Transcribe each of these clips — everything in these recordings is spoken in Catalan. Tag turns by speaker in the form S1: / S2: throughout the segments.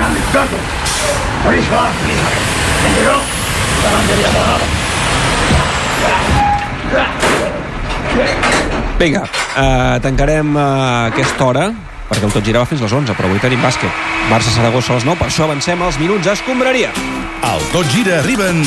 S1: Santo! ¡Por eso! ¿Me enteró? La bandería
S2: Vinga, eh, tancarem eh, aquesta hora, perquè el tot girava fins les 11, però avui tenim bàsquet. Barça-Saragossa a les 9, per això avancem als minuts escombraria.
S3: Al Tot Gira arriben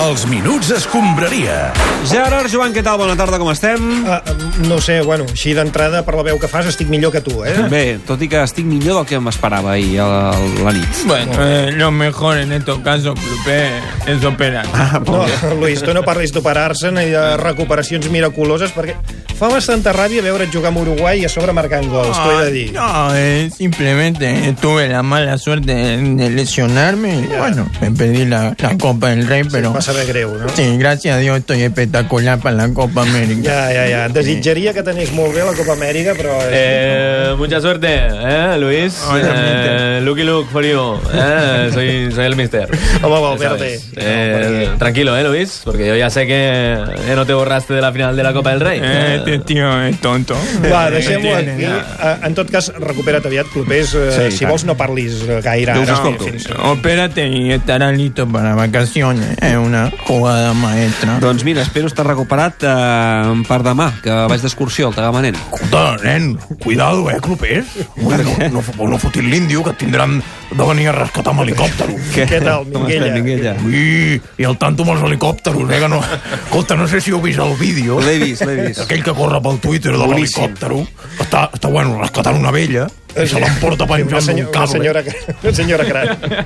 S3: els Minuts Escombraria.
S2: Gerard, Joan, què tal? Bona tarda, com estem?
S4: Ah, no ho sé, bueno, així d'entrada, per la veu que fas, estic millor que tu, eh?
S2: Bé, tot i que estic millor del que m'esperava ahir a la, a la nit.
S5: Bueno, eh, lo mejor en estos casos, Clupé, es operar.
S4: No, Luis, tu no parlis d'operar-se ni de recuperacions miraculoses, perquè fa bastanta ràbia veure't jugar amb Uruguai i a sobre marcant gols, t'ho
S2: Ah.
S4: he de dir.
S5: No, eh, simplemente tuve la mala suerte de lesionarme. y, Bueno, me perdí la, la Copa del Rey, pero.
S4: Va saber greu, no?
S5: Sí, gracias a Dios estoy espectacular para la Copa América.
S4: Ja, ja, ja. Desitjaria que tenés molt bé la Copa Amèrica, però...
S6: Eh, mucha suerte, ¿eh, Luis?
S5: Obviamente.
S6: Eh, looky look for you. Eh, soy, soy el mister.
S4: Home,
S6: Ya
S4: Valverde.
S6: sabes. Eh, tranquilo, ¿eh, Luis? Porque yo ya sé que eh, no te borraste de la final de la Copa del Rey.
S5: Eh, Este tío es tonto.
S4: Va,
S5: Eh,
S4: deixem-ho
S5: tiene,
S4: aquí.
S5: nada.
S4: Eh, En tot cas, recupera't aviat, clubers.
S2: Sí,
S4: Eh, si
S2: tant.
S4: vols, no parlis eh, gaire.
S2: Déu us
S4: ara.
S2: escolto.
S4: Fins-
S5: Opérate y estarás listo para vacaciones. Es una jugada maestra.
S2: Doncs mira, espero estar recuperat eh, per demà, que vaig d'excursió al Tagamanent.
S3: Escolta, nen, cuidado, eh, clubers. No, no, no, no fotis l'índio, que et tindran de venir a rescatar amb helicòptero.
S4: Què tal,
S2: Com estem,
S4: Minguella?
S2: Minguella?
S3: Ui, i el tanto amb els helicòpteros, eh, que no... Escolta, no sé si heu vist el vídeo.
S2: L'he vist, l'he vist.
S3: Aquell que corre pel Twitter de
S2: Boníssim.
S3: l'helicòptero. Està, està, bueno, rescatant una vella i se l'emporta per
S4: Una,
S3: inflar
S4: senyor,
S3: un
S4: una
S3: cable.
S4: senyora, una senyora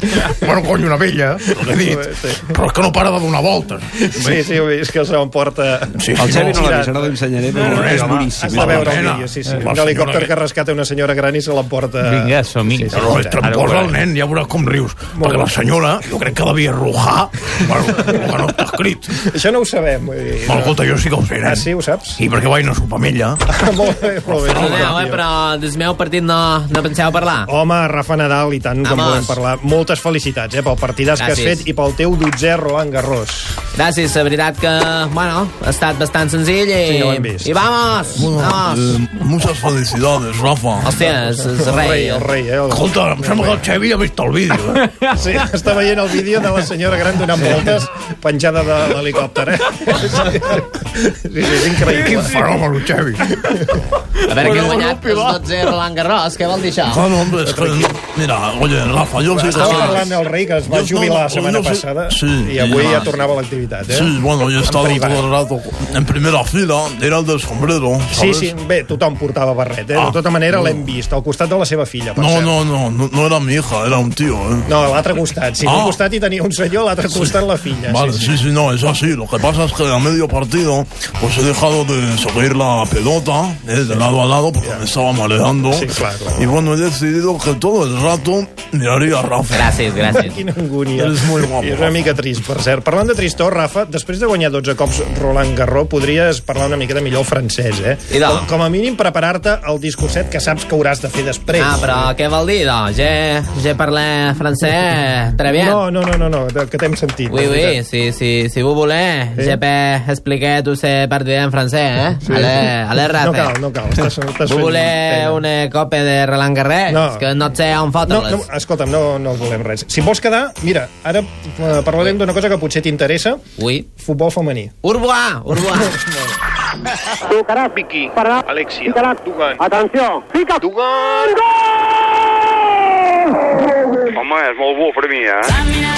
S4: gran.
S3: Bueno, cony, una vella, el que he dit. Però és que no para de donar voltes.
S4: Sí, sí, ho he vist que se l'emporta...
S3: Sí,
S2: El Xavi
S4: no.
S2: no l'ha vist, ara l'ensenyaré, però
S3: No, no,
S2: és
S4: Has
S3: home.
S2: boníssim.
S4: de
S3: La
S4: veure el
S3: nena.
S4: vídeo, sí, sí.
S3: Eh, la
S4: Un
S3: senyora
S4: helicòpter
S3: que-
S4: que rescata una senyora gran i se l'emporta...
S6: Vinga, som-hi.
S4: Eh, Sí, sí,
S3: Però és
S4: sí.
S3: tramposa el nen, ja veuràs com rius. perquè la senyora, jo crec que devia rujar, bueno, el que no està escrit.
S4: Això no ho sabem. Vull dir,
S3: Però, escolta, jo sí que ho sé, nen.
S4: Ah, sí, ho saps?
S3: Sí, perquè vaig anar a sopar amb ella.
S4: molt bé, molt bé.
S7: Perdoneu, eh, però del meu partit no, no penseu parlar.
S4: Home, Rafa Nadal, i tant, com
S7: Vamos.
S4: volem parlar. Moltes felicitats, eh, pel partidàs que has
S7: Gràcies.
S4: fet i pel teu 12è Roland Garros.
S7: Gràcies, la veritat que, bueno, ha estat bastant senzill i...
S4: Sí, ja ho hem vist.
S7: I vamos, vamos.
S3: Eh, muchas felicidades, Rafa.
S7: Hòstia, és, és
S4: El rei,
S7: rei.
S4: el rei, eh? El...
S3: Escolta, em sembla que el Xavi ja ha vist el vídeo. Eh?
S4: Sí, està veient el vídeo de la senyora gran donant voltes penjada de l'helicòpter, eh? Sí, sí, és
S3: Quin
S4: increïble.
S3: fenomen, el Xavi.
S7: A veure, que he guanyat els 12 Roland Garros, què vol dir això?
S3: Ah, no, hombre, es que... Mira, oye, Rafa, yo sí que...
S4: Estava parlant el rei que es va
S3: Dios, no,
S4: jubilar la
S3: no,
S4: setmana
S3: no sé.
S4: passada
S3: Sí,
S4: i avui
S3: i
S4: ja
S3: vas.
S4: tornava a l'activitat, eh?
S3: Sí, bueno, yo he estado
S4: privat.
S3: todo el rato en primera fila, era el del sombrero,
S4: Sí,
S3: ¿sabes?
S4: sí, bé, tothom portava barret, eh?
S3: Ah.
S4: De tota manera l'hem vist, al costat de la seva filla, per
S3: No,
S4: cert.
S3: no, no, no, no era mi hija, era un tío, ¿eh?
S4: No, a l'altre costat. Si ah.
S3: Ah.
S4: un costat hi tenia un senyor, a l'altre costat la filla.
S3: Vale, sí sí. no, es así. Lo que pasa es que a medio partido, pues he dejado de seguir la pelota, eh, de lado a lado, porque me estaba mareando.
S4: Sí, claro.
S3: Y bueno, he decidido que todo el rato miraría a Rafa.
S7: Gràcies, gràcies.
S4: Quina angúnia.
S3: Eres molt guapo,
S4: I és una mica trist, per cert. Parlant de tristor, Rafa, després de guanyar 12 cops Roland Garros, podries parlar una miqueta millor el francès, eh?
S7: I tant.
S4: Com- Com a mínim, preparar-te el discurset que saps que hauràs de fer després.
S7: Ah, però què vol dir, doncs? Je, je parlé francès, très bien.
S4: No, no, no, no, no del que t'hem sentit.
S7: Oui,
S4: de veritat.
S7: oui, si, si, si vous voulez,
S4: Sí.
S7: je peux expliquer tout ce partit en francès, eh? Sí. Allez, allez, Rafa.
S4: No cal, no cal. Estàs, estàs
S7: Vous
S4: fent
S7: voulez
S4: pena.
S7: una copa de Roland Garros?
S4: No.
S7: És Que no et sé on
S4: No,
S7: fotre-les.
S4: no, escolta'm, no, no volem res. Si vols quedar, mira, ara eh, parlarem d'una cosa que potser t'interessa,
S7: Ui.
S4: futbol femení.
S7: Au revoir, au revoir.
S8: Tocarà. Vicky. Pararà. Alexia. Picarà. Dugan. Atenció. Fica. Dugan. Gol! Home, és molt bo per mi, eh?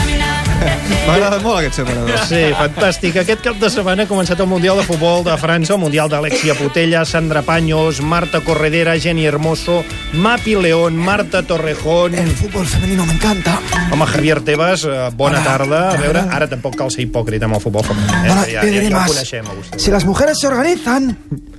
S2: M'ha agradat molt aquest separador.
S4: Ah, Sí, fantàstic. Aquest cap de setmana ha començat el Mundial de Futbol de França, el Mundial d'Alexia Putella, Sandra Paños, Marta Corredera, Jenny Hermoso, Mapi León, Marta Torrejón... El futbol femenino m'encanta. Home, Javier Tebas, eh, bona tarda. A veure, ara tampoc cal ser hipòcrita amb el futbol femení. Eh?
S9: Ahora
S4: ja,
S9: te
S4: ja,
S9: diré
S4: ja ho
S9: más.
S4: coneixem, Agustí.
S9: Si las mujeres se organizan,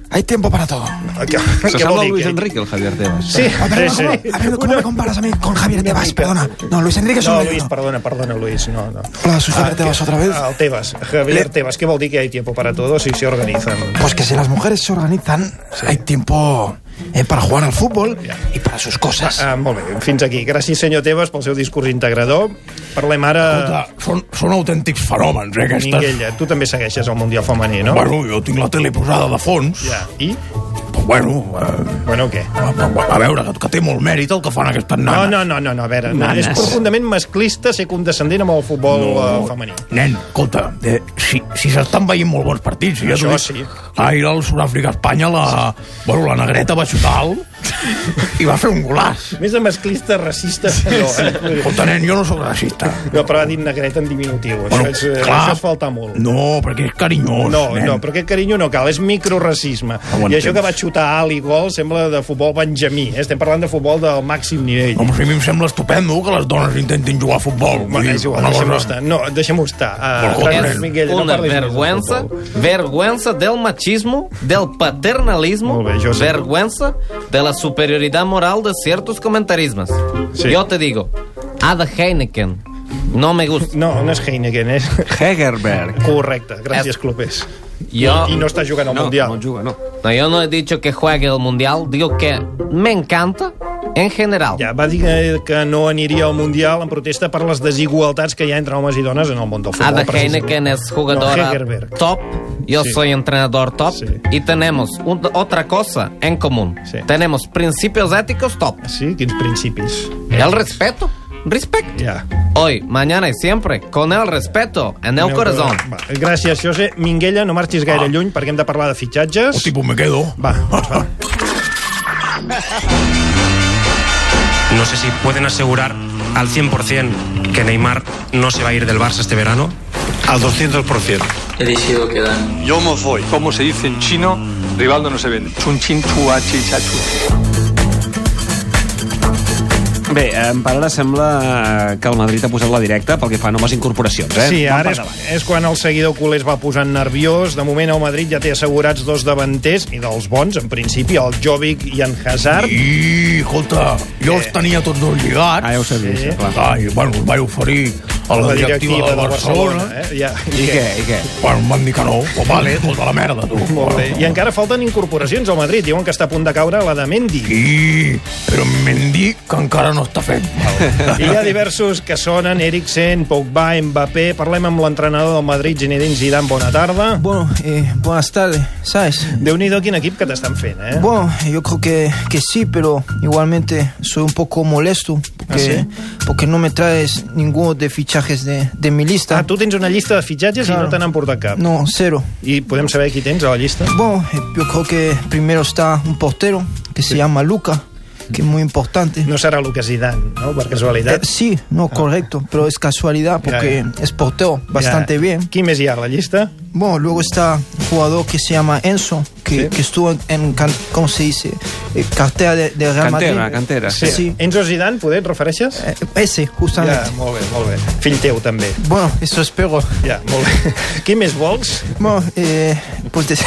S9: hay tiempo para todo. A
S4: Què,
S2: Se
S4: què
S2: sembla
S4: vol
S2: el
S4: dir?
S2: Luis
S4: que-
S2: Enrique, el Javier Tebas.
S4: Sí,
S9: ver,
S4: sí,
S9: ¿cómo-
S4: sí.
S9: a ver, ¿cómo me comparas a mí con Javier Tebas? Perdona. No, Luis Enrique es un
S4: No, Luis,
S9: veneno.
S4: perdona, perdona, Luis, no, no.
S9: Hola, soy Javier Tebas otra vez.
S4: Ah, el Tebas, Javier Tebas, què vol dir que hi ha tiempo para todos i se organizan?
S9: Pues que si las mujeres se organizan, hay tiempo eh, para jugar al fútbol y para sus cosas.
S4: Ah, molt bé, fins aquí. Gràcies, senyor Tebas, pel seu discurs integrador. Parlem ara...
S3: Escolta, Són, són autèntics fenòmens, eh, aquestes.
S4: Minguella, tu també segueixes el Mundial femení, no?
S3: Bueno, jo tinc la tele posada de fons.
S4: Ja. I?
S3: Però bueno, eh,
S4: Bueno, què?
S3: a, a, a veure, que, que té molt mèrit el que fan aquestes
S4: No,
S3: nanes.
S4: no, no, no, no a veure, no,
S3: Nanes.
S4: és profundament masclista ser condescendent amb el futbol eh, femení.
S3: Nen, escolta, eh, si si s'estan si veient molt bons partits... Ja t'ho
S4: Això
S3: dic.
S4: sí.
S3: Ahir al Sud-àfrica-Espanya la, bueno, la negreta va xutar alt i va fer un golàs.
S4: Més de masclista, racista... No, eh?
S3: Escolta, nen, jo no sóc racista.
S4: no però ha dit negreta en diminutiu. Això, és, eh, això és faltar molt.
S3: No, perquè és carinyós,
S4: No,
S3: nen. Ah,
S4: no, però aquest carinyo no cal, és microracisme.
S3: ho
S4: I això
S3: entens.
S4: que va xutar alt i gol sembla de futbol benjamí. Eh? Estem parlant de futbol del màxim nivell.
S3: Home, si a mi em sembla estupendo que les dones intentin jugar a futbol. Vull
S4: Bueno,
S3: dir,
S4: és igual,
S3: una
S4: deixem-ho
S3: cosa-
S4: estar. No, deixem-ho estar.
S3: Però,
S4: Uh,
S3: escolta,
S4: Francesc
S3: és
S4: Miguel, no
S7: Una
S4: parlis més de
S7: vergüenza,
S4: futbol.
S7: vergüenza del machismo, del paternalismo,
S4: Molt bé, jo sé.
S7: vergüenza de la superioridad moral de ciertos comentarismas.
S4: Sí.
S7: Yo te digo, Ada Ah, Heineken, no me gusta.
S4: No, no és Heineken, és...
S2: Hegerberg.
S4: Correcte, gràcies,
S7: És-
S4: Clopés.
S7: Yo,
S4: I no està jugant al
S2: No,
S4: Mundial.
S2: no juga, no.
S7: no, yo no he dicho que juegue el mundial, digo que me encanta en general.
S4: Ja, va dir que, que no aniria al Mundial en protesta per les desigualtats que hi ha entre homes i dones en el món del futbol.
S7: Ada
S4: precisament.
S7: Heineken es
S4: No,
S7: jugadora
S4: Hegerberg.
S7: top, yo
S4: Sí.
S7: soy entrenador top
S4: Sí.
S7: y tenemos un- otra cosa en común.
S4: Sí.
S7: Tenemos principios éticos top.
S4: Sí, quins principis.
S7: El respeto. Respect.
S4: Ja.
S7: Hoy, mañana y siempre, con el respeto en el corazón.
S4: Va, gràcies, José. Minguella, no marxis gaire lluny perquè hem de parlar de fitxatges.
S3: Ah. Hosti, pues me quedo.
S4: Va, doncs va.
S10: No sé si pueden asegurar al 100% que Neymar no se va a ir del Barça este verano.
S3: Al 200%.
S11: He decidido quedar.
S5: Yo me voy. Como se dice en chino, Rivaldo no se vende. Chun chin chua chi cha chu.
S2: Bé, en part ara sembla eh, que el Madrid ha posat la directa pel que fa a noves incorporacions, eh?
S4: Sí,
S2: Van
S4: ara
S2: per
S4: és,
S2: davant.
S4: és quan el seguidor culer es va posant nerviós. De moment el Madrid ja té assegurats dos davanters, i dels bons, en principi, el Jovic i en Hazard.
S3: I, escolta, jo els tenia tots dos lligats.
S2: Ah, ja ho sabia,
S4: Sí.
S2: sí. això, clar.
S3: Ah, i, bueno, els vaig oferir a la, directiva, de Barcelona.
S4: eh? ja.
S2: I què, i què?
S3: Bueno, em van dir que no. Pues vale, tota la merda, tu.
S4: Molt bé. I encara falten incorporacions al Madrid. Diuen que està a punt de caure la de Mendy.
S3: I, però m'han dit que encara no està fet.
S4: I hi ha diversos que sonen, Eriksen, Pogba, Mbappé... Parlem amb l'entrenador del Madrid, Zinedine Zidane, bona tarda.
S9: Bueno, eh, buenas tardes, ¿sabes?
S4: Déu-n'hi-do quin equip que t'estan fent, eh?
S9: Bueno, yo creo que, que sí, pero igualmente soy un poco molesto porque,
S4: ¿Ah, sí?
S9: porque no me traes ninguno de fichajes de, de mi lista.
S4: Ah, tu tens una llista de fitxatges
S9: Claro.
S4: i no te n'han portat cap.
S9: No, cero.
S4: I podem saber qui tens a la llista?
S9: Bueno, eh, yo creo que primero está un portero que se llama Luca, que es muy importante.
S4: No serà Lucas Zidane, no?, per
S9: Eh,
S4: casualitat. Ah.
S9: sí, no, correcto, pero es casualidad porque
S4: Ya,
S9: es portero bastante
S4: Ja.
S9: bien.
S4: Qui més hi ha a la llista?
S9: Bueno, luego está un jugador que se llama Enzo, que,
S4: Sí.
S9: que estuvo en, en can- ¿cómo se dice? Eh, cartera de, de Real Madrid.
S2: Cantera, cantera.
S9: Sí.
S4: Enzo Zidane, poder, et refereixes?
S9: Eh, ese, justamente.
S4: Ja, molt bé, molt bé. Fill teu, també.
S9: Bueno, eso espero.
S4: Ja, molt bé. Qui més vols?
S9: Bueno, eh, pues de-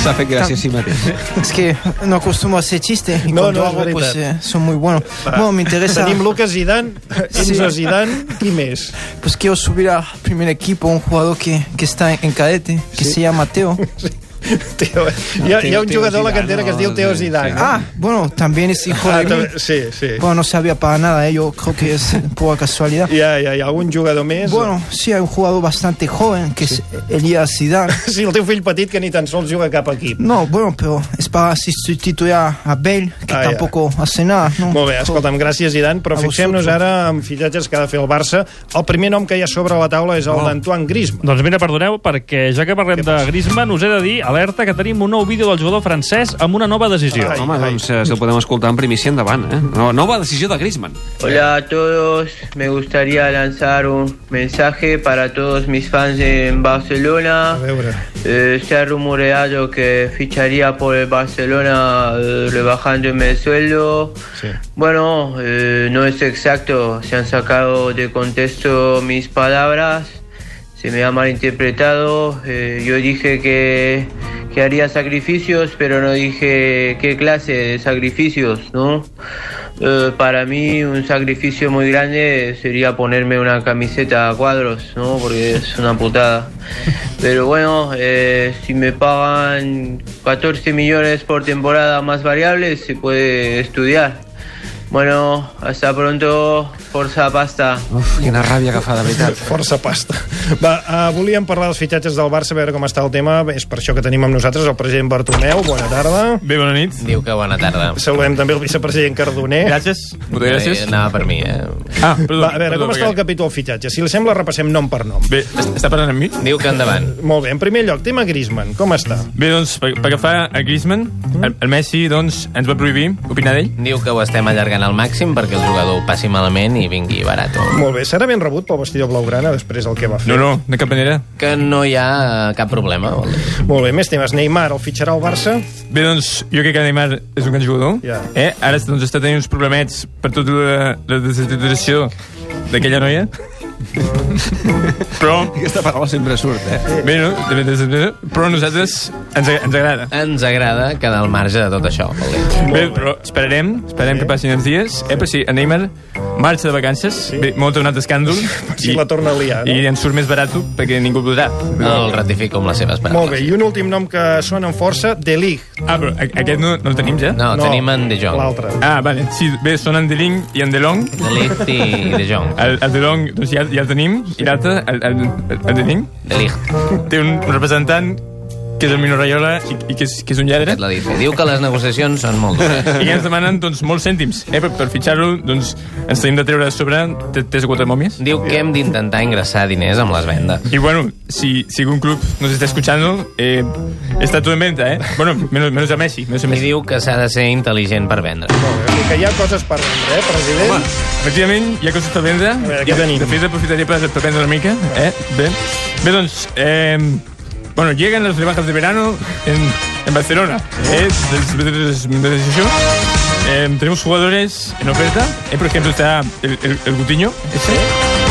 S2: S'ha fet gràcia a si mateix.
S9: es que no acostumbro a hacer chistes. Y
S4: No,
S9: cuando
S4: no, es
S9: hago,
S4: verdad.
S9: pues eh, son muy buenos.
S4: Va.
S9: Bueno, me interesa.
S4: Tenim Lucas Zidane, Enzo Zidane, qui més?
S9: Pues quiero subir al primer equipo un jugador que, que está en cadete, que se llama Teo.
S4: Teo, eh? hi, ha, hi ha un
S2: Teo
S4: jugador a la
S2: Zidane,
S4: cantera que es diu
S2: no,
S4: Teo
S2: sí,
S4: Zidane. eh?
S2: sí.
S9: Ah, bueno, también es hijo de mí.
S4: també- sí, sí.
S9: Bueno, no sabía para nada, eh, yo creo que es pura casualidad.
S4: Hi ha, hi ha, hi ha algun jugador més?
S9: Bueno, sí, hay un jugador bastante joven que es Elías Zidane.
S4: Sí, el teu fill petit que ni tan sols juga a cap equip.
S9: No, bueno, pero es para sustituir a a Bale, que
S4: Ah, ya.
S9: tampoco hace nada.
S2: Mm.
S9: ¿no?
S4: Molt bé, escolta'm, gràcies, Zidane, però
S9: A
S4: fixem-nos
S9: vosaltres.
S4: ara en fitxatges que ha de fer el Barça. El primer nom que hi ha sobre la taula és el
S2: Oh.
S4: d'Antoine Griezmann.
S11: Doncs mira, perdoneu, perquè ja que parlem de Griezmann, us he de dir, alerta, que tenim un nou vídeo del jugador francès amb una nova decisió.
S4: Ai,
S2: Home,
S4: ai.
S2: doncs, eh, si el podem escoltar en primícia endavant, eh? No, nova decisió de Griezmann.
S9: Hola a todos, me gustaría lanzar un mensaje para todos mis fans en Barcelona.
S4: A veure...
S9: Eh, se ha rumoreado que ficharía por el Barcelona eh, rebajándome el sueldo.
S4: Sí.
S9: Bueno, eh, no es exacto, se han sacado de contexto mis palabras, se me ha malinterpretado, eh, yo dije que, que haría sacrificios, pero no dije qué clase de sacrificios, ¿no? Eh, para mí un sacrificio muy grande sería ponerme una camiseta a cuadros, ¿no? Porque es una putada. Pero bueno, eh, si me pagan 14 millones por temporada más variables, se puede estudiar.
S12: Bueno, hasta pronto. Forza, pasta.
S2: Quina ràbia que fa, de veritat.
S4: Força pasta. Va, uh, volíem parlar dels fitxatges del Barça, a veure com està el tema. És per això que tenim amb nosaltres el president Bartomeu. Bona tarda.
S5: Bé, bona nit.
S6: Diu que bona tarda.
S4: Saludem també el vicepresident Cardoner.
S5: Gràcies. Moltes gràcies.
S6: Anava per mi, eh?
S5: Ah, perdó.
S4: Va, a veure,
S5: perdó,
S4: com està el capítol fitxatge? Si li sembla, repassem nom per nom.
S5: Bé, es- està parlant amb mi?
S6: Diu que endavant.
S4: Molt bé, en primer lloc, tema Griezmann. Com està?
S5: Bé, doncs, pel pel que fa a Griezmann, el, el Messi, doncs, ens va prohibir opinar d'ell.
S6: Mm. Diu que ho estem allargant al màxim perquè el jugador ho passi malament i vingui barato.
S4: Molt bé, serà ben rebut pel vestidor blaugrana després del que va fer.
S5: No, no, de cap manera.
S6: Que no hi ha eh, cap problema. vol dir.
S4: Molt bé, més temes. Neymar, el fitxarà el Barça?
S5: Bé, doncs, jo crec que Neymar és un gran jugador.
S4: Ja.
S5: Eh? Ara doncs, està tenint uns problemets per tota la, la desintegració d'aquella noia. però,
S2: Aquesta paraula sempre surt, eh?
S5: bé, no? De- de- de- Però a nosaltres ens, a- ens agrada.
S6: Ens agrada quedar al marge de tot això. Vol dir.
S5: Bé, però esperarem, esperarem que passin els dies. Eh, però sí, el Neymar marxa de vacances, bé, molt tornat escàndol,
S4: Si la torna a liar, no?
S5: i ens surt més barat perquè ningú voldrà.
S6: El ratifico amb les seves
S4: Molt
S6: paraules.
S4: bé, i un últim nom que sona amb força, De Ligt.
S5: Ah, però a- aquest no, no el tenim ja?
S6: No,
S4: No,
S6: tenim en De Jong.
S4: L'altre.
S5: eh? Ah, vale, sí, bé, són en Deling i en Delong.
S6: De Ligt i De Jong.
S5: El, el Delong, doncs ja, ja el tenim, i l'altre, el, el, el, el Deling,
S6: De Ligt.
S5: té un representant que és el Mino Rayola i, i que, és, que és un lladre.
S6: Aquest la dice. Diu que les negociacions són molt dures.
S5: I ens demanen, doncs, molts cèntims. Eh, per, per fitxar-lo, doncs, ens tenim de treure a sobre t- tres o quatre mòmies.
S6: Diu que hem d'intentar ingressar diners amb les vendes.
S5: Y bueno, si, si algún club nos está escuchando, eh, está todo en venta, ¿eh? Bueno, menos, menos a Messi. Menos a
S6: I
S5: Messi.
S6: diu que s'ha de ser intel·ligent per vendre.
S4: Molt bé, que hi ha coses per vendre, eh, president?
S5: Efectivament, hi ha coses per vendre.
S4: veure,
S5: I
S4: què
S5: de,
S4: tenim?
S5: de fet, aprofitaria per, per vendre una mica. Eh? Bé. Bé, doncs... Eh, bueno, llegan las rebajas de verano en, en Barcelona. Eh, des- des- des- desde eso, eh, tenemos jugadores en oferta. Eh, por ejemplo, está el, el, el Gutiño, ese,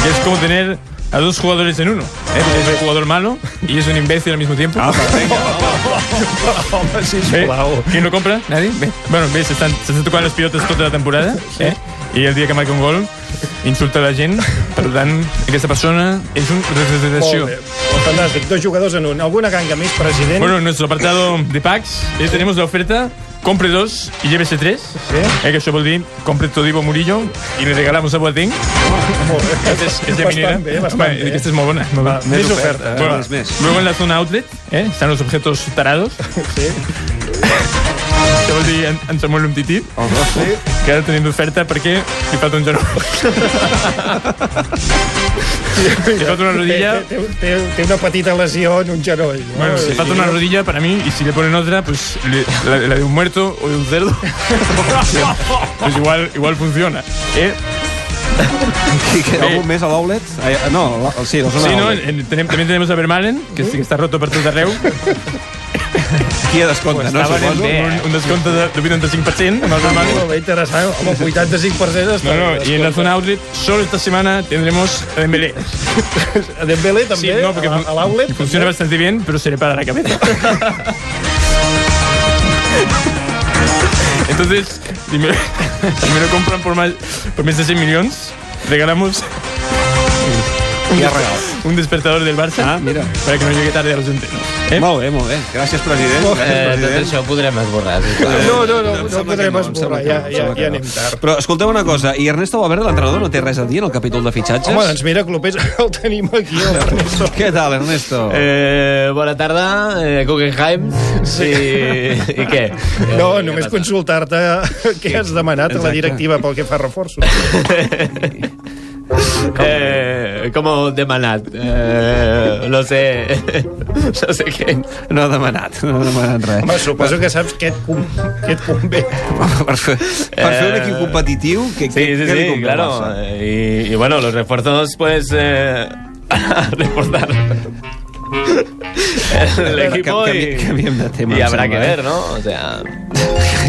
S5: que es como tener a dos jugadores en uno. Eh, es un jugador malo y es un imbécil al mismo tiempo.
S4: Home,
S5: ¿Eh?
S4: sisplau.
S5: ¿Quién lo compra? Nadie. Ve. Bueno, ves, se están, se están tocando los pilotos toda la temporada. ¿eh? I el dia que marca un gol, insulta la gent. Per tant, aquesta persona és un
S4: Molt
S5: representació.
S4: bé. Fantàstic, dos jugadors en un. Alguna ganga més, president?
S5: Bueno, en nuestro apartado de packs eh, tenemos la oferta compre dos y llévese tres. Eh, que això vol dir compre Todibo Murillo y le regalamos a Boateng. Este
S4: Molt bé.
S5: És de minera.
S4: bastant bé, bastant
S5: Home,
S13: eh.
S4: bé.
S5: Aquesta és molt bona. Molt
S13: Ah,
S5: bona.
S4: Més oferta.
S5: Bueno,
S2: Més, més.
S5: Luego en la zona outlet eh, están los objetos tarados.
S4: Sí.
S5: Això vol dir en, en Samuel Umtiti.
S2: El dos, sí.
S5: que ara tenim d'oferta perquè li falta un genoll. li falta una rodilla...
S4: Té, té, té, té una petita lesió en un genoll. No?
S5: Bueno, si
S4: Sí.
S5: falta una rodilla para mí y si le ponen otra, pues le- la, la de un muerto o de un cerdo, pues igual, igual funciona. ¿eh?
S2: I que algun més a l'Oulet? Ai, ah, No, a la- sí, a la zona
S5: Sí, ¿no?
S2: Outlet.
S5: En- tenem- también tenemos a Vermalen, que, sí que está roto per tot arreu.
S2: Qui ha descompte, no?
S5: Estava
S2: Suposo.
S5: en un, un descompte de, de 85% amb el Vermaelen.
S4: Ah, Molt bé, interessant. Home, 85% està
S5: No, no,
S4: bé,
S5: y en la
S4: escolta.
S5: zona outlet solo esta semana tendremos a Dembélé.
S4: A Dembélé també?
S5: Sí, no, porque
S4: a, a l'outlet?
S5: funciona bastante bien, pero se le para la cabeza. Entonces, si me, si me lo compran por, más, por más de 100 millones, regalamos un,
S2: Qui ha
S5: desper-
S2: regalat?
S5: un despertador del Barça
S2: Ah, mira.
S5: para que no llegue tarde a los entrenos. ¿eh?
S2: Molt bé, molt bé. Gràcies, president. Gràcies,
S6: Eh, tot
S2: Oh, president.
S6: això ho podrem esborrar, sisplau.
S4: No, no, no, no,
S2: Em sembla
S4: no
S2: que
S4: podrem
S2: em sembla
S4: esborrar,
S2: que
S4: ja,
S2: no, em
S4: ja,
S2: sembla que
S4: ja
S2: no.
S4: anem tard.
S2: Però escolteu una cosa, i Ernesto Valverde, l'entrenador, no té res a dir en el capítol de fitxatges?
S4: Home, doncs mira, clubers, el tenim aquí, el Ernesto.
S2: Què tal, Ernesto?
S6: Eh, bona tarda, eh, Guggenheim. Sí. I què?
S4: No,
S6: Eh,
S4: només
S6: què passa?
S4: consultar-te què has demanat a la
S2: Exacte.
S4: directiva pel que fa a reforços.
S6: Eh, com ho he demanat? Eh, no sé... No sé què.
S2: No ha demanat, no ha demanat res.
S4: Home, suposo que saps què et, com, què et convé.
S2: per, fer, per fer un equip competitiu, què,
S6: Sí,
S2: què,
S6: sí,
S2: què li
S6: sí,
S2: convé al
S6: claro.
S2: Barça?
S6: Eh, Y, y bueno, los refuerzos, pues... Eh, a reforzar el equipo
S2: Cam-
S6: y,
S2: cambi- canviem de tema,
S6: y
S2: em
S6: habrá que
S2: sembla, eh?
S6: ver, ¿no? O sea...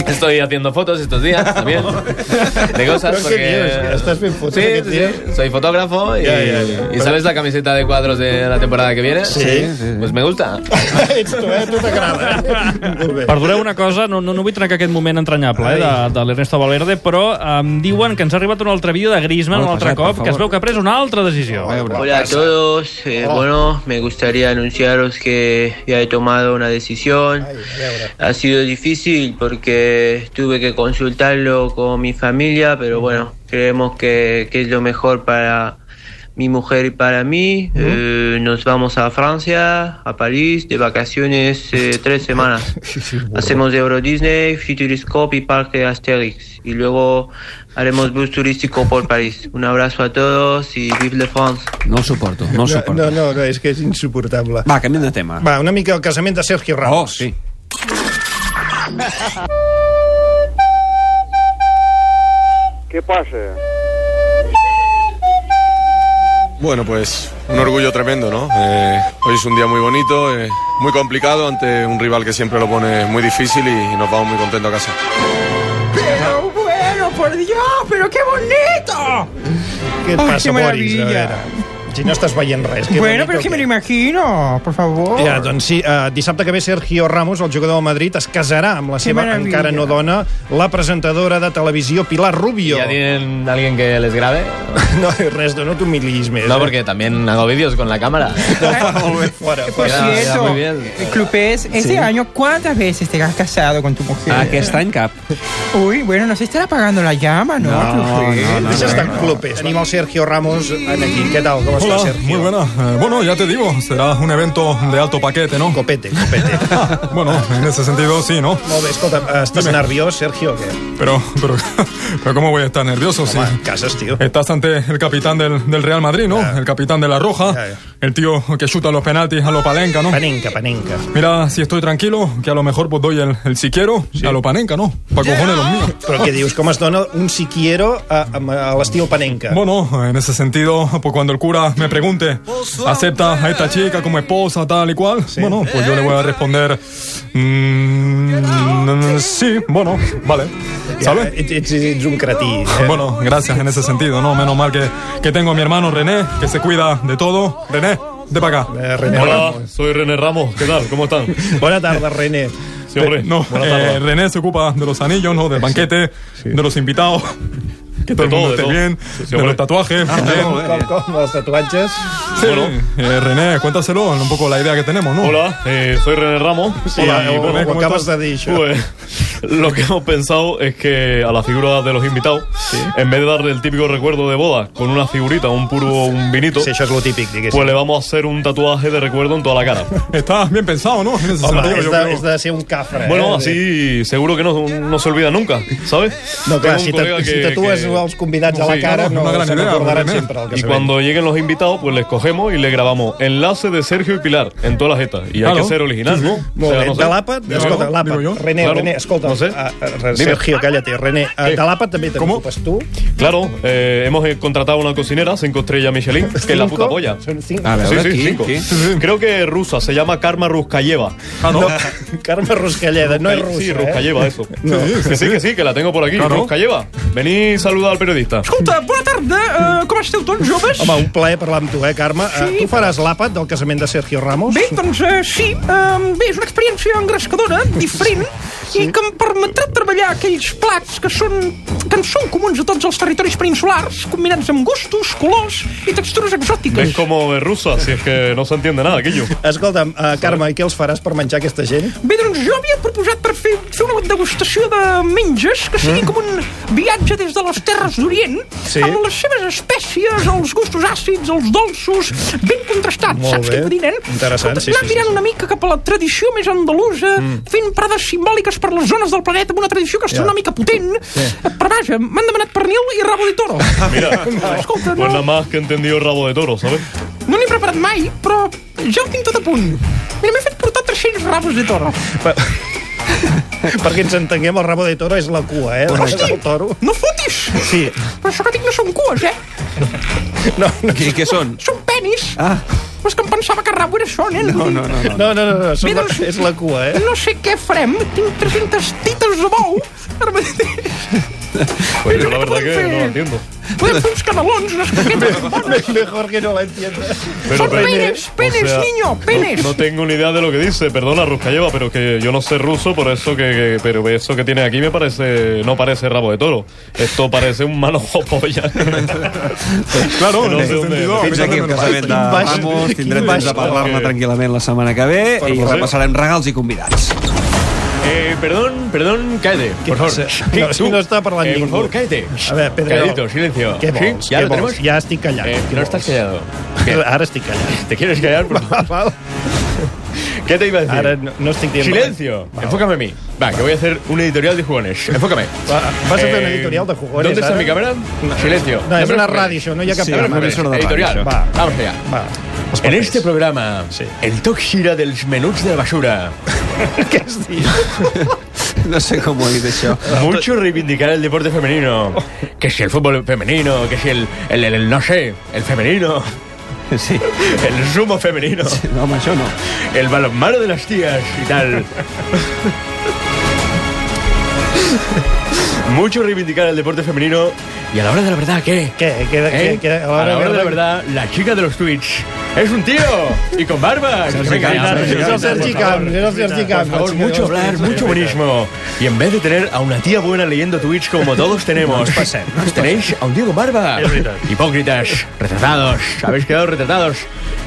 S6: Estoy haciendo fotos estos días también de
S4: Pero
S6: cosas
S4: qué
S6: porque
S4: bien, estás bien foto,
S6: Sí,
S4: qué
S6: sí,
S4: tío.
S6: sí, soy fotógrafo y,
S4: Ya, ya, ya.
S6: y sabes la camiseta de cuadros de la temporada que viene.
S4: Sí.
S6: Pues me gusta.
S4: Ets tu, eh? A tu t'agrada. eh? Molt bé.
S11: Perdoneu una cosa, no, no, no vull trencar aquest moment entranyable eh, de, de l'Ernesto Valverde, però em diuen que ens ha arribat un altre vídeo de Griezmann
S2: Bueno,
S11: un altre
S2: passat, per
S11: cop, que es
S2: favor.
S11: veu que ha pres una altra decisió.
S2: A veure.
S12: Hola a todos. Eh, Bueno, me gustaría anunciaros que ya he tomado una decisión. Ha sido difícil porque tuve que consultarlo con mi familia, pero bueno, creemos que, que es lo mejor para mi mujer y para mí. Eh, nos vamos a Francia, a París, de vacaciones eh, tres semanas. Hacemos Euro Disney, Futuriscope y Parque Asterix. Y luego haremos bus turístico por París. Un abrazo a todos y vive la France.
S2: No ho suporto, no ho suporto.
S4: No, no, no, és que és insuportable.
S2: Va, canviem de tema.
S4: Va, una mica el casament de Sergio Ramos.
S2: Oh, sí.
S7: ¿Qué pasa?
S14: Bueno, pues un orgullo tremendo, ¿no? Eh, hoy es un día muy bonito, eh, muy complicado ante un rival que siempre lo pone muy difícil y, y nos vamos muy contentos a casa.
S15: Pero bueno, por Dios, pero qué bonito.
S4: Què et
S15: Ai,
S4: passa,
S15: que
S4: Boris? A
S15: meravella.
S4: veure, si no estàs veient res. Que
S15: Bueno, pero
S4: bonito
S15: es que me lo imagino, por favor.
S4: Ja, doncs sí, eh, dissabte que ve Sergio Ramos, el jugador del Madrid, es casarà amb la
S15: Que
S4: seva
S15: meravella.
S4: encara no dona, la presentadora de televisió Pilar Rubio.
S6: ¿Ya tienen alguien que les grabe?
S4: Oh. No, Ernesto, no ¿eh? te humilles
S6: No, porque también hago vídeos con la cámara.
S15: Eh,
S4: Fuera,
S15: Por
S6: Queda- queda
S15: cierto,
S6: muy bien.
S15: Clupés, este
S6: Sí.
S15: año, ¿cuántas veces te has casado con tu mujer?
S2: Ah, Aquest any cap.
S15: Uy, bueno, no se estará apagando la llama, Ah, ¿no? Clupés?
S4: No, no, Deixa estar en clubes. Tenim el Sergio Ramos en aquí. Què tal? Com està,
S13: Hola,
S4: Sergio?
S13: muy buena. Eh, bueno, ya te digo, será un evento de alto paquete, ¿no?
S4: Copete, copete.
S13: bueno, en ese sentido sí, ¿no?
S4: Molt bé, escolta, estàs
S13: Dime.
S4: nerviós, Sergio, o què?
S13: Pero, pero, pero ¿cómo voy a estar nervioso si
S4: casas, tío?
S13: estás ante el capitán del, del Real Madrid, ¿no? El capitán de la Roja, el tío que chuta los penaltis a lo Palenca, ¿no?
S4: Panenca, Panenca.
S13: Mira, si estoy tranquilo, que a lo mejor pues doy el, el si quiero a lo Panenca, ¿no? Para cojones los míos.
S4: Però què dius? Com es dona un siquiero a, a, a l'estil panenca?
S13: Bueno, en ese sentido, pues cuando el cura me pregunte, ¿acepta a esta chica como esposa, tal y cual? Bueno, pues yo le voy a responder, mm, sí, bueno, vale, ¿sabes?
S4: un cretí.
S13: Bueno, gracias en ese sentido, ¿no? Menos mal que, que tengo a mi hermano René, que se cuida de todo. René, de para acá.
S16: Hola, soy Eh, René Ramos. ¿Qué tal? ¿Cómo están?
S4: Buenas tardes, René.
S16: Sí, hombre.
S13: No,
S16: Buenas
S13: eh,
S16: tardes.
S13: René se ocupa de los anillos, ¿no? Del banquete, de los invitados. Que todo el
S16: todo,
S13: mundo esté
S16: de todo.
S13: bien,
S16: Sí, sí,
S13: de
S16: hombre. Ah,
S13: los tatuajes. también.
S4: Com, Ah, eh. com, els tatuatges?
S13: Sí, eh, René, cuéntaselo un poco la idea que tenemos, ¿no?
S16: Hola, eh, soy René Ramos.
S13: Sí,
S16: Hola,
S13: o- o acabas
S16: estás?
S13: de decir.
S16: Pues, lo que hemos pensado es que a la figura de los invitados, en vez de darle el típico recuerdo de boda con una figurita, un puro, un vinito,
S4: eso es lo típico,
S16: pues le vamos a hacer un tatuaje de recuerdo en toda la cara.
S13: Está bien pensado, ¿no? En ese
S16: Hombre,
S13: sentido,
S16: es
S13: yo
S16: la-
S13: creo.
S4: És de ser un cafre,
S16: Bueno,
S4: eh?
S16: así seguro que no, no se olvida nunca, ¿sabes?
S4: No, clar,
S16: Tengo un
S4: si,
S16: colega
S4: ta- si
S16: que-
S4: tatues
S16: que-
S4: els convidats a la
S16: Sí,
S4: cara,
S16: claro,
S4: no,
S16: una gran
S4: se
S16: idea,
S4: n'acordaran
S16: René.
S4: sempre el
S16: Y
S4: casament.
S16: cuando lleguen los invitados, pues les cogemos y les grabamos enlace de Sergio y Pilar en toda la jeta. Y hay
S4: Claro.
S16: que ser original, ¿no?
S4: Molt
S16: O sea,
S4: bé,
S16: no sé.
S4: de l'àpat,
S16: Digo
S4: escolta,
S16: yo,
S4: l'àpat,
S16: digo yo.
S4: René,
S16: Claro.
S4: René, escolta,
S16: No sé.
S4: ah, ah,
S16: Dime. Eh.
S4: Sergio, cállate, René, ah, de l'àpat també te'n ocupes tu?
S16: Claro, eh, hemos eh, contratado una cocinera, cinco estrellas Michelin, que es la puta polla.
S4: Són cinc.
S16: Sí, sí, cinco. Creo que es rusa, se llama Karma Ruskayeva.
S4: Ah, no. Carme Ruscalleda, no és russa,
S16: Sí,
S4: eh?
S16: Ruskayeva, eso.
S4: No.
S16: Que sí, que sí, que la tengo por aquí,
S4: Claro.
S16: Ruskayeva. Vení, saluda al periodista.
S15: Escolta, bona
S16: eh,
S15: tarda, uh, com esteu tots joves?
S4: Home, un plaer parlar amb tu, eh, Carme? Sí, tu faràs l'àpat del casament de Sergio Ramos?
S15: Bé, doncs uh, sí, um, bé, és una experiència engrescadora, diferent, sí. i que em permetrà treballar aquells plats que són que en són comuns a tots els territoris peninsulars, combinats amb gustos, colors i textures
S16: ¿Ves
S15: exòtiques.
S16: cómo es rusa? Si es que no se entiende nada, aquello.
S4: Escolta'm, uh, Carme, i què els faràs per menjar aquesta gent?
S15: Bé, doncs jo havia proposat per fer, fer una degustació de menges que sigui com un viatge des de les terres d'Orient
S4: Mm. Sí.
S15: amb les seves espècies, els gustos àcids, els dolços, ben contrastats.
S4: Molt
S15: Saps
S4: bé.
S15: què vull dir, nen?
S4: Interessant, sí, sí,
S15: anar
S4: sí,
S15: tirant
S4: sí. Mm.
S15: una mica cap a la tradició més andalusa, fent parades simbòliques per les zones del planeta amb una tradició gastronòmica potent. Però vaja, m'han demanat pernil i rabo de toro.
S16: Mira,
S15: Escolta,
S16: pues nada
S15: no,
S16: más que he entendido el rabo de toro, ¿sabes?
S15: no n'he preparat mai, però ja ho tinc tot a punt. Mira, m'he fet portar 300 rabos de toro.
S4: Perquè ens entenguem, el rabo de toro és la cua, eh? del-
S15: Hosti!
S4: del toro.
S15: No fotis!
S4: Sí.
S15: Però això que tinc no són cues, eh?
S4: No, no.
S2: Què, què són?
S15: Són penis.
S2: Ah.
S15: Però és que em pensava que rabo era això, nen.
S2: No, no, no, no.
S4: No, no, no, no, són
S15: Bé,
S4: la-
S15: doncs,
S4: és la cua, eh?
S15: No sé què farem. Tinc 300 tites de bou. Ara mateix.
S16: Pues yo la verdad que no la entiendo.
S15: Podem fer uns canelons, unes croquetes bones.
S4: Mejor que no la entienda.
S16: Pero,
S15: Son
S16: pero-
S15: penes,
S16: o
S15: penes,
S16: sea,
S15: niño, penes.
S16: No, no tengo ni idea de lo que dice, perdona, Ruscalleva, pero que yo no sé ruso, por eso que, que- pero eso que tiene aquí me parece, no parece rabo de toro. Esto parece un manojo polla. claro, no sé dónde.
S2: Fins aquí el casament de Ramos. Tindrem temps de parlar-ne tranquil·lament la setmana que ve
S16: Per
S2: i
S16: favor.
S2: repassarem regals i convidats.
S6: Eh, perdón, perdón, cállate, por favor. Sí,
S4: No,
S6: tú.
S4: no está parlando
S6: Eh, por
S4: ningú.
S6: favor, cállate.
S4: A ver, Pedro.
S6: Calladito, silencio.
S4: Què vols?
S6: ¿Sí? ¿Ya
S4: Què
S6: lo
S4: vols?
S6: tenemos?
S4: Ja estic callat.
S6: Eh, que
S4: Què
S6: no estás
S4: vols?
S6: callado. ¿Qué?
S4: Ara estic callat.
S6: ¿Te quieres callar? Por favor? ¿Qué te iba a decir?
S4: Ara no, no estic dient...
S6: Silencio.
S4: Va,
S6: Enfócame a mí. Va, que voy a hacer un editorial de jugones. Enfócame.
S4: Va, vas a fer un
S6: Eh,
S4: editorial de jugones,
S6: ¿Dónde está
S4: ara?
S6: mi cámara?
S4: No.
S6: Silencio.
S4: No, és
S6: Dame
S4: una
S6: los
S4: ràdio, això, no hi ha cap
S6: Sí,
S4: programa.
S6: dame los papeles. editorial.
S4: Va,
S6: Vamos allá.
S4: va.
S6: En este programa, el toc gira dels menuts de la basura.
S4: Què has dit?
S2: No sé cómo he dicho.
S6: Mucho reivindicar el deporte femenino. Que si el fútbol femenino, que si el, el, el- el- no sé, el femenino.
S2: Sí.
S6: El sumo femenino.
S2: no, macho no.
S6: El balonmano de las tías y tal. Mucho reivindicar el deporte femenino. Y a la hora de la verdad, ¿qué?
S4: ¿Qué? ¿Qué?
S6: ¿Eh?
S4: qué- qué?
S6: a la hora, de la verdad, la chica de los tweets es un tío y con barba. Que
S4: Sergi
S6: venga,
S4: Camps,
S6: hombre,
S4: es el
S6: por
S4: Sergi
S6: favor.
S4: Camps, es el Sergi Camps,
S6: Por
S4: la
S6: favor,
S4: chica de
S6: mucho
S4: los
S6: hablar,
S4: tweets.
S6: mucho buenismo. Y en vez de tener a una tía buena leyendo tweets como todos tenemos,
S4: No pasa, no
S6: tenéis a un tío con barba.
S4: Es verdad.
S6: Hipócritas, retratados, habéis quedado retratados.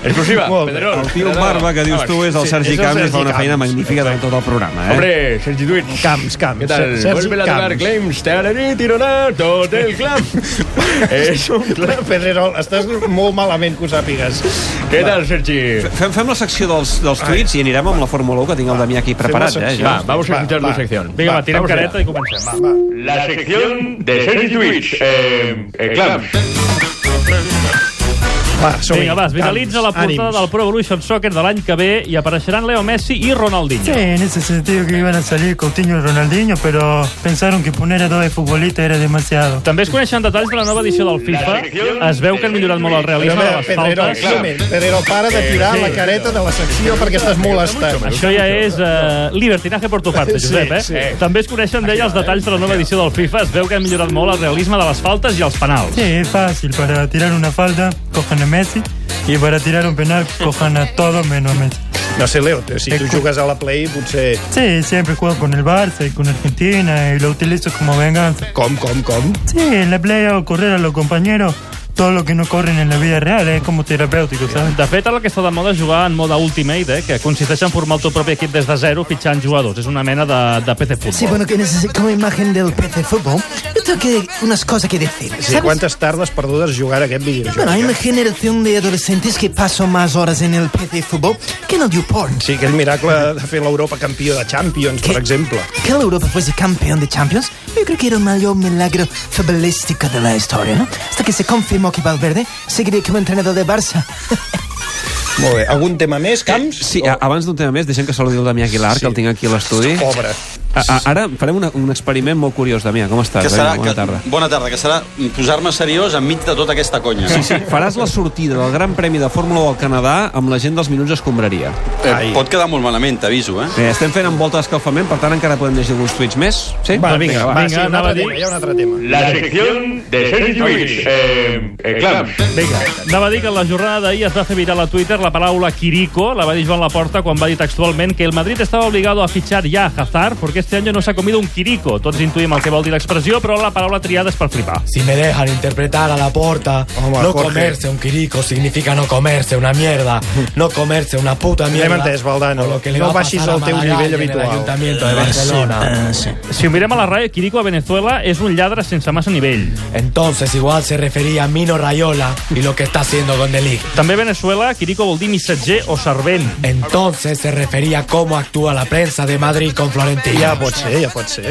S6: Exclusiva,
S2: Molt bé.
S6: Pedrerol. Ah,
S2: El tio amb barba que dius tu és el Sergi Camps i fa una feina magnífica durant tot el programa. Eh?
S6: Hombre, Sergi Twitch.
S4: Camps, Camps.
S6: ¿Qué tal?
S4: Sergi
S6: Vuelve a tocar
S4: Camps.
S6: claims. Tararí, tironá, tot el clam. És un clam.
S4: Pedrerol, estàs molt malament que ho sàpigues.
S6: Què tal, Sergi?
S2: Fem, fem la secció dels, dels tuits i anirem amb la Fórmula 1 que tinc el Damià aquí preparat. Eh, ja.
S11: Vinga, va, tirem
S2: vamos allá.
S11: careta i comencem. Va.
S6: La sección de
S11: Sergi
S6: Twitch. Eh, clams.
S4: Va, som
S11: Vinga, va, es vitalitza la portada del Pro Evolution Soccer de l'any que ve i apareixeran Leo Messi i Ronaldinho.
S17: Sí, en ese sentido que iban a salir Coutinho y Ronaldinho, pero pensaron que poner a dos futbolistas era demasiado.
S11: També es coneixen detalls de la nova edició del FIFA. Es veu que han millorat molt el
S4: Però, a
S11: realisme de
S4: veure,
S11: les
S4: Pedrerol,
S11: faltes.
S4: un moment. Pedrerol, para de tirar
S11: Sí.
S4: la careta de la secció perquè estàs molestant.
S11: Això ja és eh, libertinaje por tu parte, Josep, eh?
S4: Sí, sí.
S11: També es coneixen d'ella els detalls de la nova edició del FIFA. Es veu que han millorat molt el realisme de les faltes i els penals.
S17: Sí, es fácil. Para tirar una falda, cojan a Messi. Y para tirar un penal, cojan a todos menos a Messi.
S4: No sé, Leo, si tu jugues a la Play, potser...
S17: Sí, siempre juego con el Barça y con Argentina y lo utilizo como venganza.
S4: Com, com, com?
S17: Sí, en la playa hago correr a los compañeros todo lo que no corren en la vida real, es como terapéutico, ¿sabes?
S11: De fet, ara el que està de moda és jugar en mode Ultimate, eh, que consisteix en formar el teu propi equip des de zero fitxant jugadors. És una mena de, de PC
S15: eh.
S11: Futbol.
S9: Sí, bueno, que necesito como imagen del PC Fútbol. Yo tengo que, unas cosas que decir.
S4: Sí,
S9: ¿sabes?
S4: quantes tardes perdudes jugant a aquest videojoc?
S9: Bueno, hay una generación de adolescentes que paso más horas en el PC Fútbol que en el YouPorn.
S4: Sí, aquell miracle de fer l'Europa campió de Champions, per exemple.
S9: Que la Europa fuese campeón de Champions, yo creo que era el mayor milagro futbolístico de la historia, ¿no? Hasta que se confirmó que Valverde seguiría como entrenador de Barça.
S4: Molt bé. Algun tema més, Camps?
S2: Eh, Sí, a- abans d'un tema més, deixem que saludi el Damià Aguilar, sí. que el tinc aquí a l'estudi.
S4: Pobre.
S2: A, a, ara farem una, un experiment molt curiós, Damià. Com estàs?
S18: Que serà,
S2: Vinga, Bona tarda.
S18: Que, bona tarda, que serà posar-me seriós enmig de tota aquesta conya.
S2: Sí, sí. Faràs la sortida del Gran Premi de Fórmula 1 al Canadà amb la gent dels minuts escombraria.
S18: Eh, pot quedar molt malament, t'aviso, eh?
S2: Eh, estem fent amb volta d'escalfament, per tant encara podem llegir alguns tuits més. Sí? Doncs
S4: Va, vinga, va, Ah, sí, un
S2: anava
S4: altre
S2: a dir-
S4: tema, hi ha un altre tema.
S2: La sección
S11: de Sergi Twitch.
S16: Eh, eh, clams.
S11: Vinga. Anava a dir que en la jornada d'ahir es va fer viral a Twitter la paraula Quirico, la va dir Joan Laporta quan va dir textualment que el Madrid estava obligado a fichar ya a Hazard porque este año no s'ha comido un Quirico. Tots intuïm el que vol dir l'expressió, però la paraula triada és per flipar.
S19: Si me dejan interpretar a la porta, no
S11: Jorge.
S19: comerse un quirico significa no comerse una mierda, no comerse una puta
S4: L'hem
S19: mierda.
S4: entès, Valdano.
S19: por lo que le
S4: No
S19: va a
S4: baixis
S19: pasar a
S4: el teu
S19: Maragall en
S4: nivell
S19: el
S4: habitual.
S19: Ayuntamiento de
S4: Ah, sí,
S19: Barcelona.
S11: Si ho mirem a la ràdio, Quirico a Venezuela és un lladre sense massa nivell.
S19: Entonces igual se refería a Mino Rayola y lo que está haciendo con Delic.
S11: També a Venezuela, Quirico vol dir missatger o servent.
S19: Entonces se refería a cómo actúa la prensa de Madrid con Florentino.
S4: Ya, pues sí, ya, pues sí.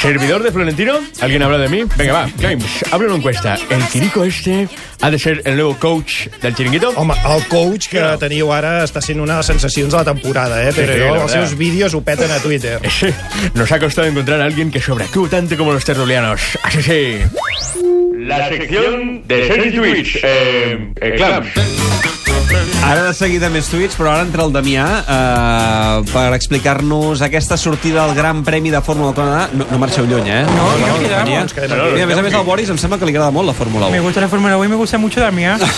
S6: ¿Servidor de Florentino? ¿Alguien habla de mí? Venga, va, Games, abre una encuesta. ¿El Quirico este ha de ser el nuevo coach del chiringuito?
S4: Home, el coach que teniu ara està sent una de les sensacions de la temporada, eh?
S6: Sí,
S4: Però
S6: sí, la
S4: els
S6: verdad.
S4: seus vídeos ho peten a Twitter.
S6: Nos ha costado encontrar a alguien que sobreactúe tanto como los tertulianos. Así sí. La sección
S16: de Sergi Twitch. Eh, eh, clams.
S2: Ara de seguida més tuits, però ara entra el Damià eh, per explicar-nos aquesta sortida del Gran Premi de Fórmula 1 del Canadà. No, no marxeu lluny, eh? No, no, Damià.
S17: ens quedem aquí.
S2: Mira, a més a més, al Boris em sembla que li agrada molt la Fórmula 1.
S19: Me gusta la Fórmula 1 y me gusta mucho Damián.
S2: Ah,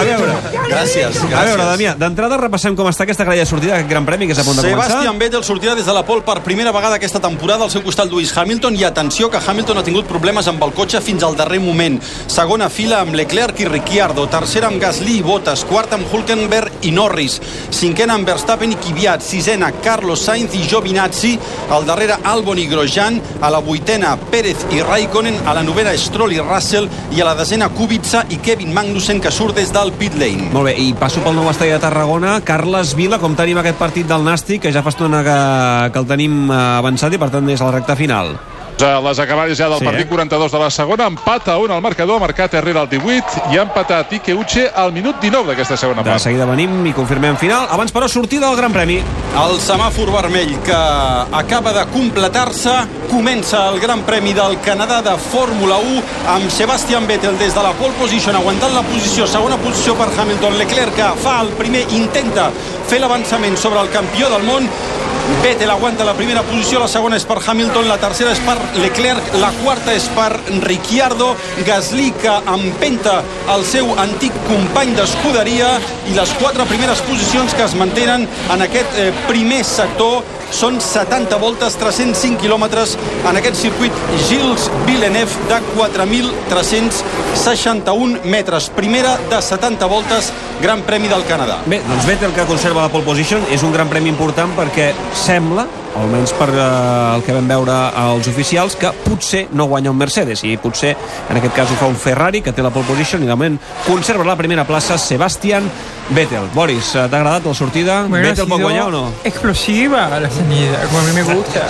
S2: A veure,
S18: Gràcies, gràcies.
S2: a veure Damià, d'entrada repassem com està aquesta grella sortida d'aquest Gran Premi que és a punt de començar.
S18: Sebastian Vettel sortirà des de la pole per primera vegada aquesta temporada al seu costat Lewis Hamilton i atenció que Hamilton ha tingut problemes amb el cotxe fins al darrer moment. Segona fila amb Leclerc i Ricciardo, tercera amb Gasly i Bottas, quarta amb Hulkenberg i Norris, cinquena amb Verstappen i Kvyat, sisena Carlos Sainz i Giovinazzi, al darrere Albon i Grosjean, a la vuitena Pérez i Raikkonen, a la novena Stroll i Russell i a la desena Kubica i Kevin Magnussen que surt des del pit lane.
S2: Molt bé, i passo pel nou estadi de Tarragona. Carles Vila, com tenim aquest partit del Nàstic, que ja fa estona que, que el tenim eh, avançat i, per tant, és a la recta final.
S20: A les acabades ja del
S2: Sí,
S20: sí, partit
S2: eh?
S20: 42 de la segona, empat a 1 al marcador, ha marcat Herrera al 18 i ha empatat Ike Uche al minut 19 d'aquesta segona
S2: De
S20: part.
S2: seguida venim i confirmem final. Abans, però, sortida del Gran Premi.
S18: El semàfor vermell que acaba de completar-se comença el Gran Premi del Canadà de Fórmula 1 amb Sebastian Vettel des de la pole position aguantant la posició, segona posició per Hamilton Leclerc que fa el primer, intenta fer l'avançament sobre el campió del món Vettel aguanta la primera posició, la segona és per Hamilton, la tercera és per Leclerc, la quarta és per Ricciardo, Gasly que empenta el seu antic company d'escuderia i les quatre primeres posicions que es mantenen en aquest eh, primer sector són 70 voltes, 305 quilòmetres en aquest circuit Gilles Villeneuve de 4.361 metres. Primera de 70 voltes, Gran Premi del Canadà.
S2: Bé, doncs Vettel, que conserva la pole position, és un gran premi important perquè sembla, almenys per eh, el que vam veure als oficials, que potser no guanya un Mercedes i potser, en aquest cas, ho fa un Ferrari, que té la pole position i, de moment, conserva la primera plaça Sebastian Vettel. Boris, eh, t'ha agradat la sortida?
S19: Bueno, ha
S2: Vettel pot
S19: sido
S2: guanyar o no?
S19: Explosiva la salida, como a mí me gusta.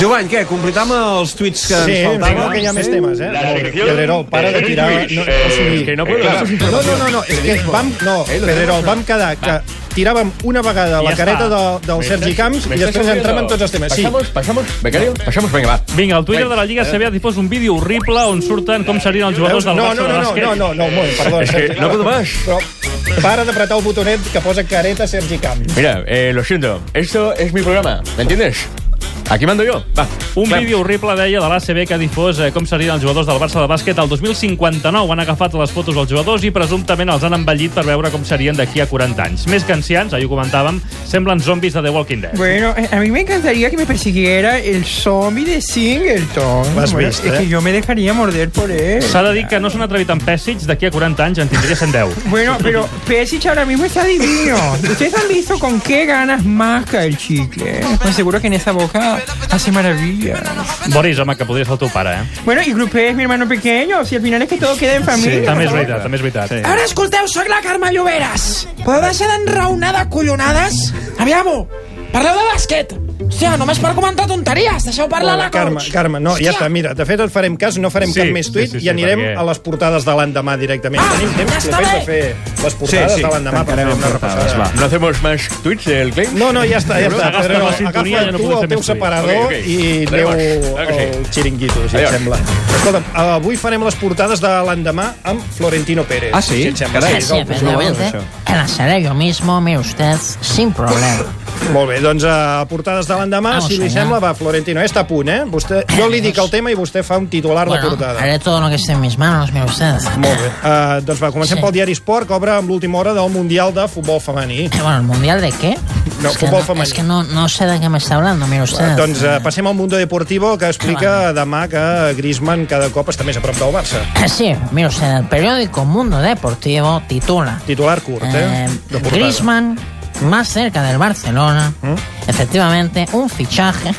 S2: Jovany, què? Completam els tuits que
S4: Sí,
S2: ens faltaven?
S4: sembla que hi ha més temes, eh? Molt bé. Pedrerol, para de tirar... No, o sigui,
S2: que no podem
S4: clar.
S2: fer
S4: no, no, no, no, és que vam... No, Pedrerol, vam quedar que tiràvem una vegada
S6: I
S4: la
S6: ja
S4: careta
S6: està.
S4: de, del
S6: Me
S4: Sergi
S6: estás-
S4: Camps
S6: me
S4: i
S6: estás
S4: després entrem en
S6: jodiendo.
S4: tots els temes. Sí.
S6: Pasamos, pasamos, becario, pasamos, venga, Eh, va.
S11: Vinga, al Twitter de la
S4: Eh,
S11: Lliga CB ha difós "Pues un vídeo horrible on surten com serien els jugadors del
S4: No,
S11: Barça
S4: no,
S11: de
S4: no, no,
S11: bàsquet.
S4: no, no, no, un moment, perdó.
S6: Es que no puedo más.
S4: Però para d'apretar el botonet que posa careta Sergi Camps.
S6: Mira, eh, lo siento, esto es mi programa, ¿me entiendes? Aquí mando yo, va.
S11: Un
S6: Clar.
S11: vídeo horrible, deia, de l'ACB que ha difós eh, com serien els jugadors del Barça de bàsquet el 2059. Han agafat les fotos dels jugadors i presumptament els han envellit per veure com serien d'aquí a 40 anys. Més que ancians, ahir ho comentàvem, semblen zombis de The Walking Dead.
S19: Bueno, eh, a mí me encantaría que me persiguiera el zombie de Singleton.
S11: Lo has
S19: Bueno,
S11: visto,
S19: es
S11: eh?
S19: que yo me dejaría morder por él.
S11: S'ha de dir que no s'han atrevit amb Pessig, d'aquí a 40 anys en tindria 110.
S19: Bueno, pero Pesic ahora mismo está divino. ¿Ustedes han visto con qué ganas masca el chicle? Pues seguro que en esa boca hace maravillas.
S11: Boris, home, que podria ser el teu pare, eh?
S19: Bueno, y Grupé es mi hermano pequeño. Si al final es que todo queda en familia.
S11: també és
S19: ¿no?
S11: veritat, també és veritat. Sí.
S15: Ara escolteu, sóc la Carme Lloberes. Podeu deixar d'enraonar de collonades? Aviam-ho, parleu de basquet. Hòstia, només per comentar tonteries, deixeu parlar la,
S4: Carme,
S15: coach.
S4: Carme, no, ja
S15: Hòstia.
S4: està, mira, de fet et farem cas, no farem
S15: Sí,
S4: sí, cap més
S15: sí,
S4: tuit
S15: sí,
S4: sí,
S15: sí,
S4: sí, i anirem
S15: perquè-
S4: a les portades de l'endemà directament. Ah, Tenim
S15: ja
S4: temps,
S15: està
S4: de fet,
S15: bé.
S4: de fer les portades
S6: Sí, sí,
S4: de l'endemà per fer
S6: tancarem
S4: una
S6: amb
S4: repassada.
S6: portades, va. No hacemos más tweets del Clay.
S4: No, no, ja està, ja està.
S6: Agafes
S4: Pedrerol,
S6: la sintonia,
S4: agafa
S6: ja no
S4: tu
S6: podem
S4: el
S6: fer
S4: teu
S6: més tuits.
S4: separador
S6: Ok, ok.
S4: i
S6: D'acord,
S4: aneu
S6: clar que sí.
S4: al xiringuito, si
S6: Adiós.
S4: et sembla. Escolta'm, eh, avui farem les portades de l'endemà amb Florentino Pérez.
S2: Ah, sí?
S4: Si et sembla.
S2: Carai,
S4: Sí, sí,
S2: pues
S4: sí,
S2: no,
S4: sí,
S2: pues
S4: sí.
S21: Que las haré yo mismo, mire usted, sin problema.
S4: Molt bé, doncs a portades de l'endemà,
S21: Vamos
S4: si li
S21: allá.
S4: sembla, va, Florentino, està a punt, eh? Vostè, jo li dic el tema i vostè fa un titular de
S21: Bueno,
S4: portada.
S21: haré todo lo que esté en mis manos, mire usted.
S4: Molt bé. Uh, doncs va, comencem
S21: Sí.
S4: sí. pel diari Esport, que obre amb l'última hora del Mundial de Futbol Femení.
S21: Eh, bueno, ¿el mundial de qué?
S4: No,
S21: es que
S4: futbol
S21: no,
S4: femení.
S21: es que no, no sé de qué me está hablando, mire
S4: Va,
S21: usted.
S4: doncs uh, passem al Mundo Deportivo, que explica demà que Griezmann cada cop està més a prop del Barça.
S21: Eh, Sí, mire usted, el periódico Mundo Deportivo titula
S4: Titular curt, eh? De portada.
S21: Griezmann más cerca del Barcelona. Efectivamente, un fichaje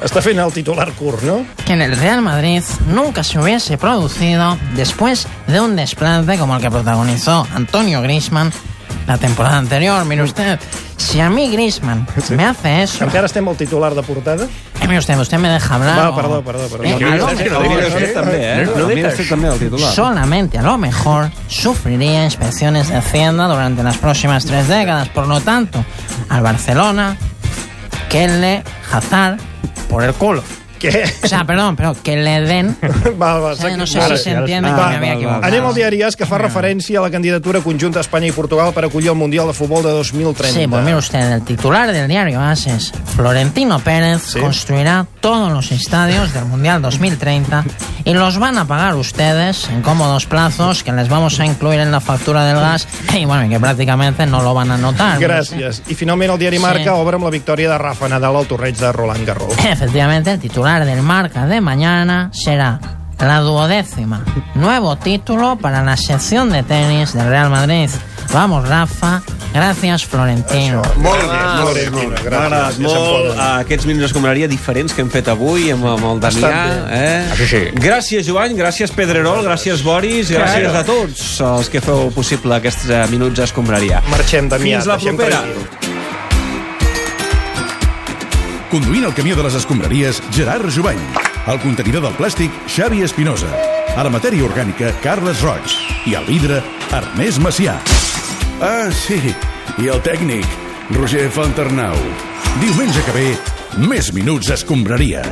S4: Està fent el titular curt, no?
S21: que en el Real Madrid nunca se hubiese producido después de un desplante como el que protagonizó Antonio Griezmann la temporada anterior. Mire usted, si a mí Griezmann me hace eso...
S4: Encara estem al titular de portada?
S21: Eh, mire usted, ¿usted me deja hablar?
S4: Va,
S21: o-
S4: perdó, perdó, perdó. No,
S21: Eh, a
S4: mira,
S21: lo
S4: és que no
S21: mejor-
S4: diries tu també, eh? No
S21: lo
S4: diries
S21: mejor-
S4: tu també el titular.
S21: Solamente a lo mejor sufriría inspecciones de Hacienda durante las próximas tres décadas. Por lo tanto, al Barcelona, que le jazar por el culo.
S4: Què?
S21: O sea, perdón, pero que le den...
S4: Val, val,
S21: Eh, no sé si s'entiende que m'havia equivocat.
S4: Anem al diari As, que fa referència a la candidatura conjunta d'Espanya i Portugal per acollir el Mundial de Futbol de 2030.
S21: Sí, pues mire usted, el titular del diario AS es Florentino Pérez construirá todos los estadios del Mundial 2030 y los van a pagar ustedes en cómodos plazos que les vamos a incluir en la factura del gas y bueno, y que prácticamente no lo van a notar.
S4: Gràcies. I finalment el diari
S21: Sí.
S4: Marca obre amb la victòria de Rafa Nadal al torreig de Roland Garros.
S21: Efectivamente, el titular del marca de mañana será la duodécima. Nuevo título para la sección de tenis del Real Madrid. Vamos, Rafa. Gracias, Florentino.
S2: molt bé, molt bé. Ah, M'ha agradat molt eh, aquests minuts escombraria diferents que hem fet avui amb, amb el Damià.
S15: Bastant bé.
S2: Eh?
S15: Això sí.
S2: Gràcies, Joan, gràcies, Pedrerol, gràcies, Boris, gràcies a tots els que feu possible aquests eh, minuts escombraria.
S4: Marxem, Damià.
S2: Fins la
S4: deixem
S2: propera.
S4: tranquil.
S22: Conduint el camió de les escombraries, Gerard Jubany. El contenidor del plàstic, Xavi Espinosa. A la matèria orgànica, Carles Roig. I al vidre, Ernest Macià. Ah, sí, i el tècnic, Roger Fontarnau. Diumenge que ve, més minuts escombraria.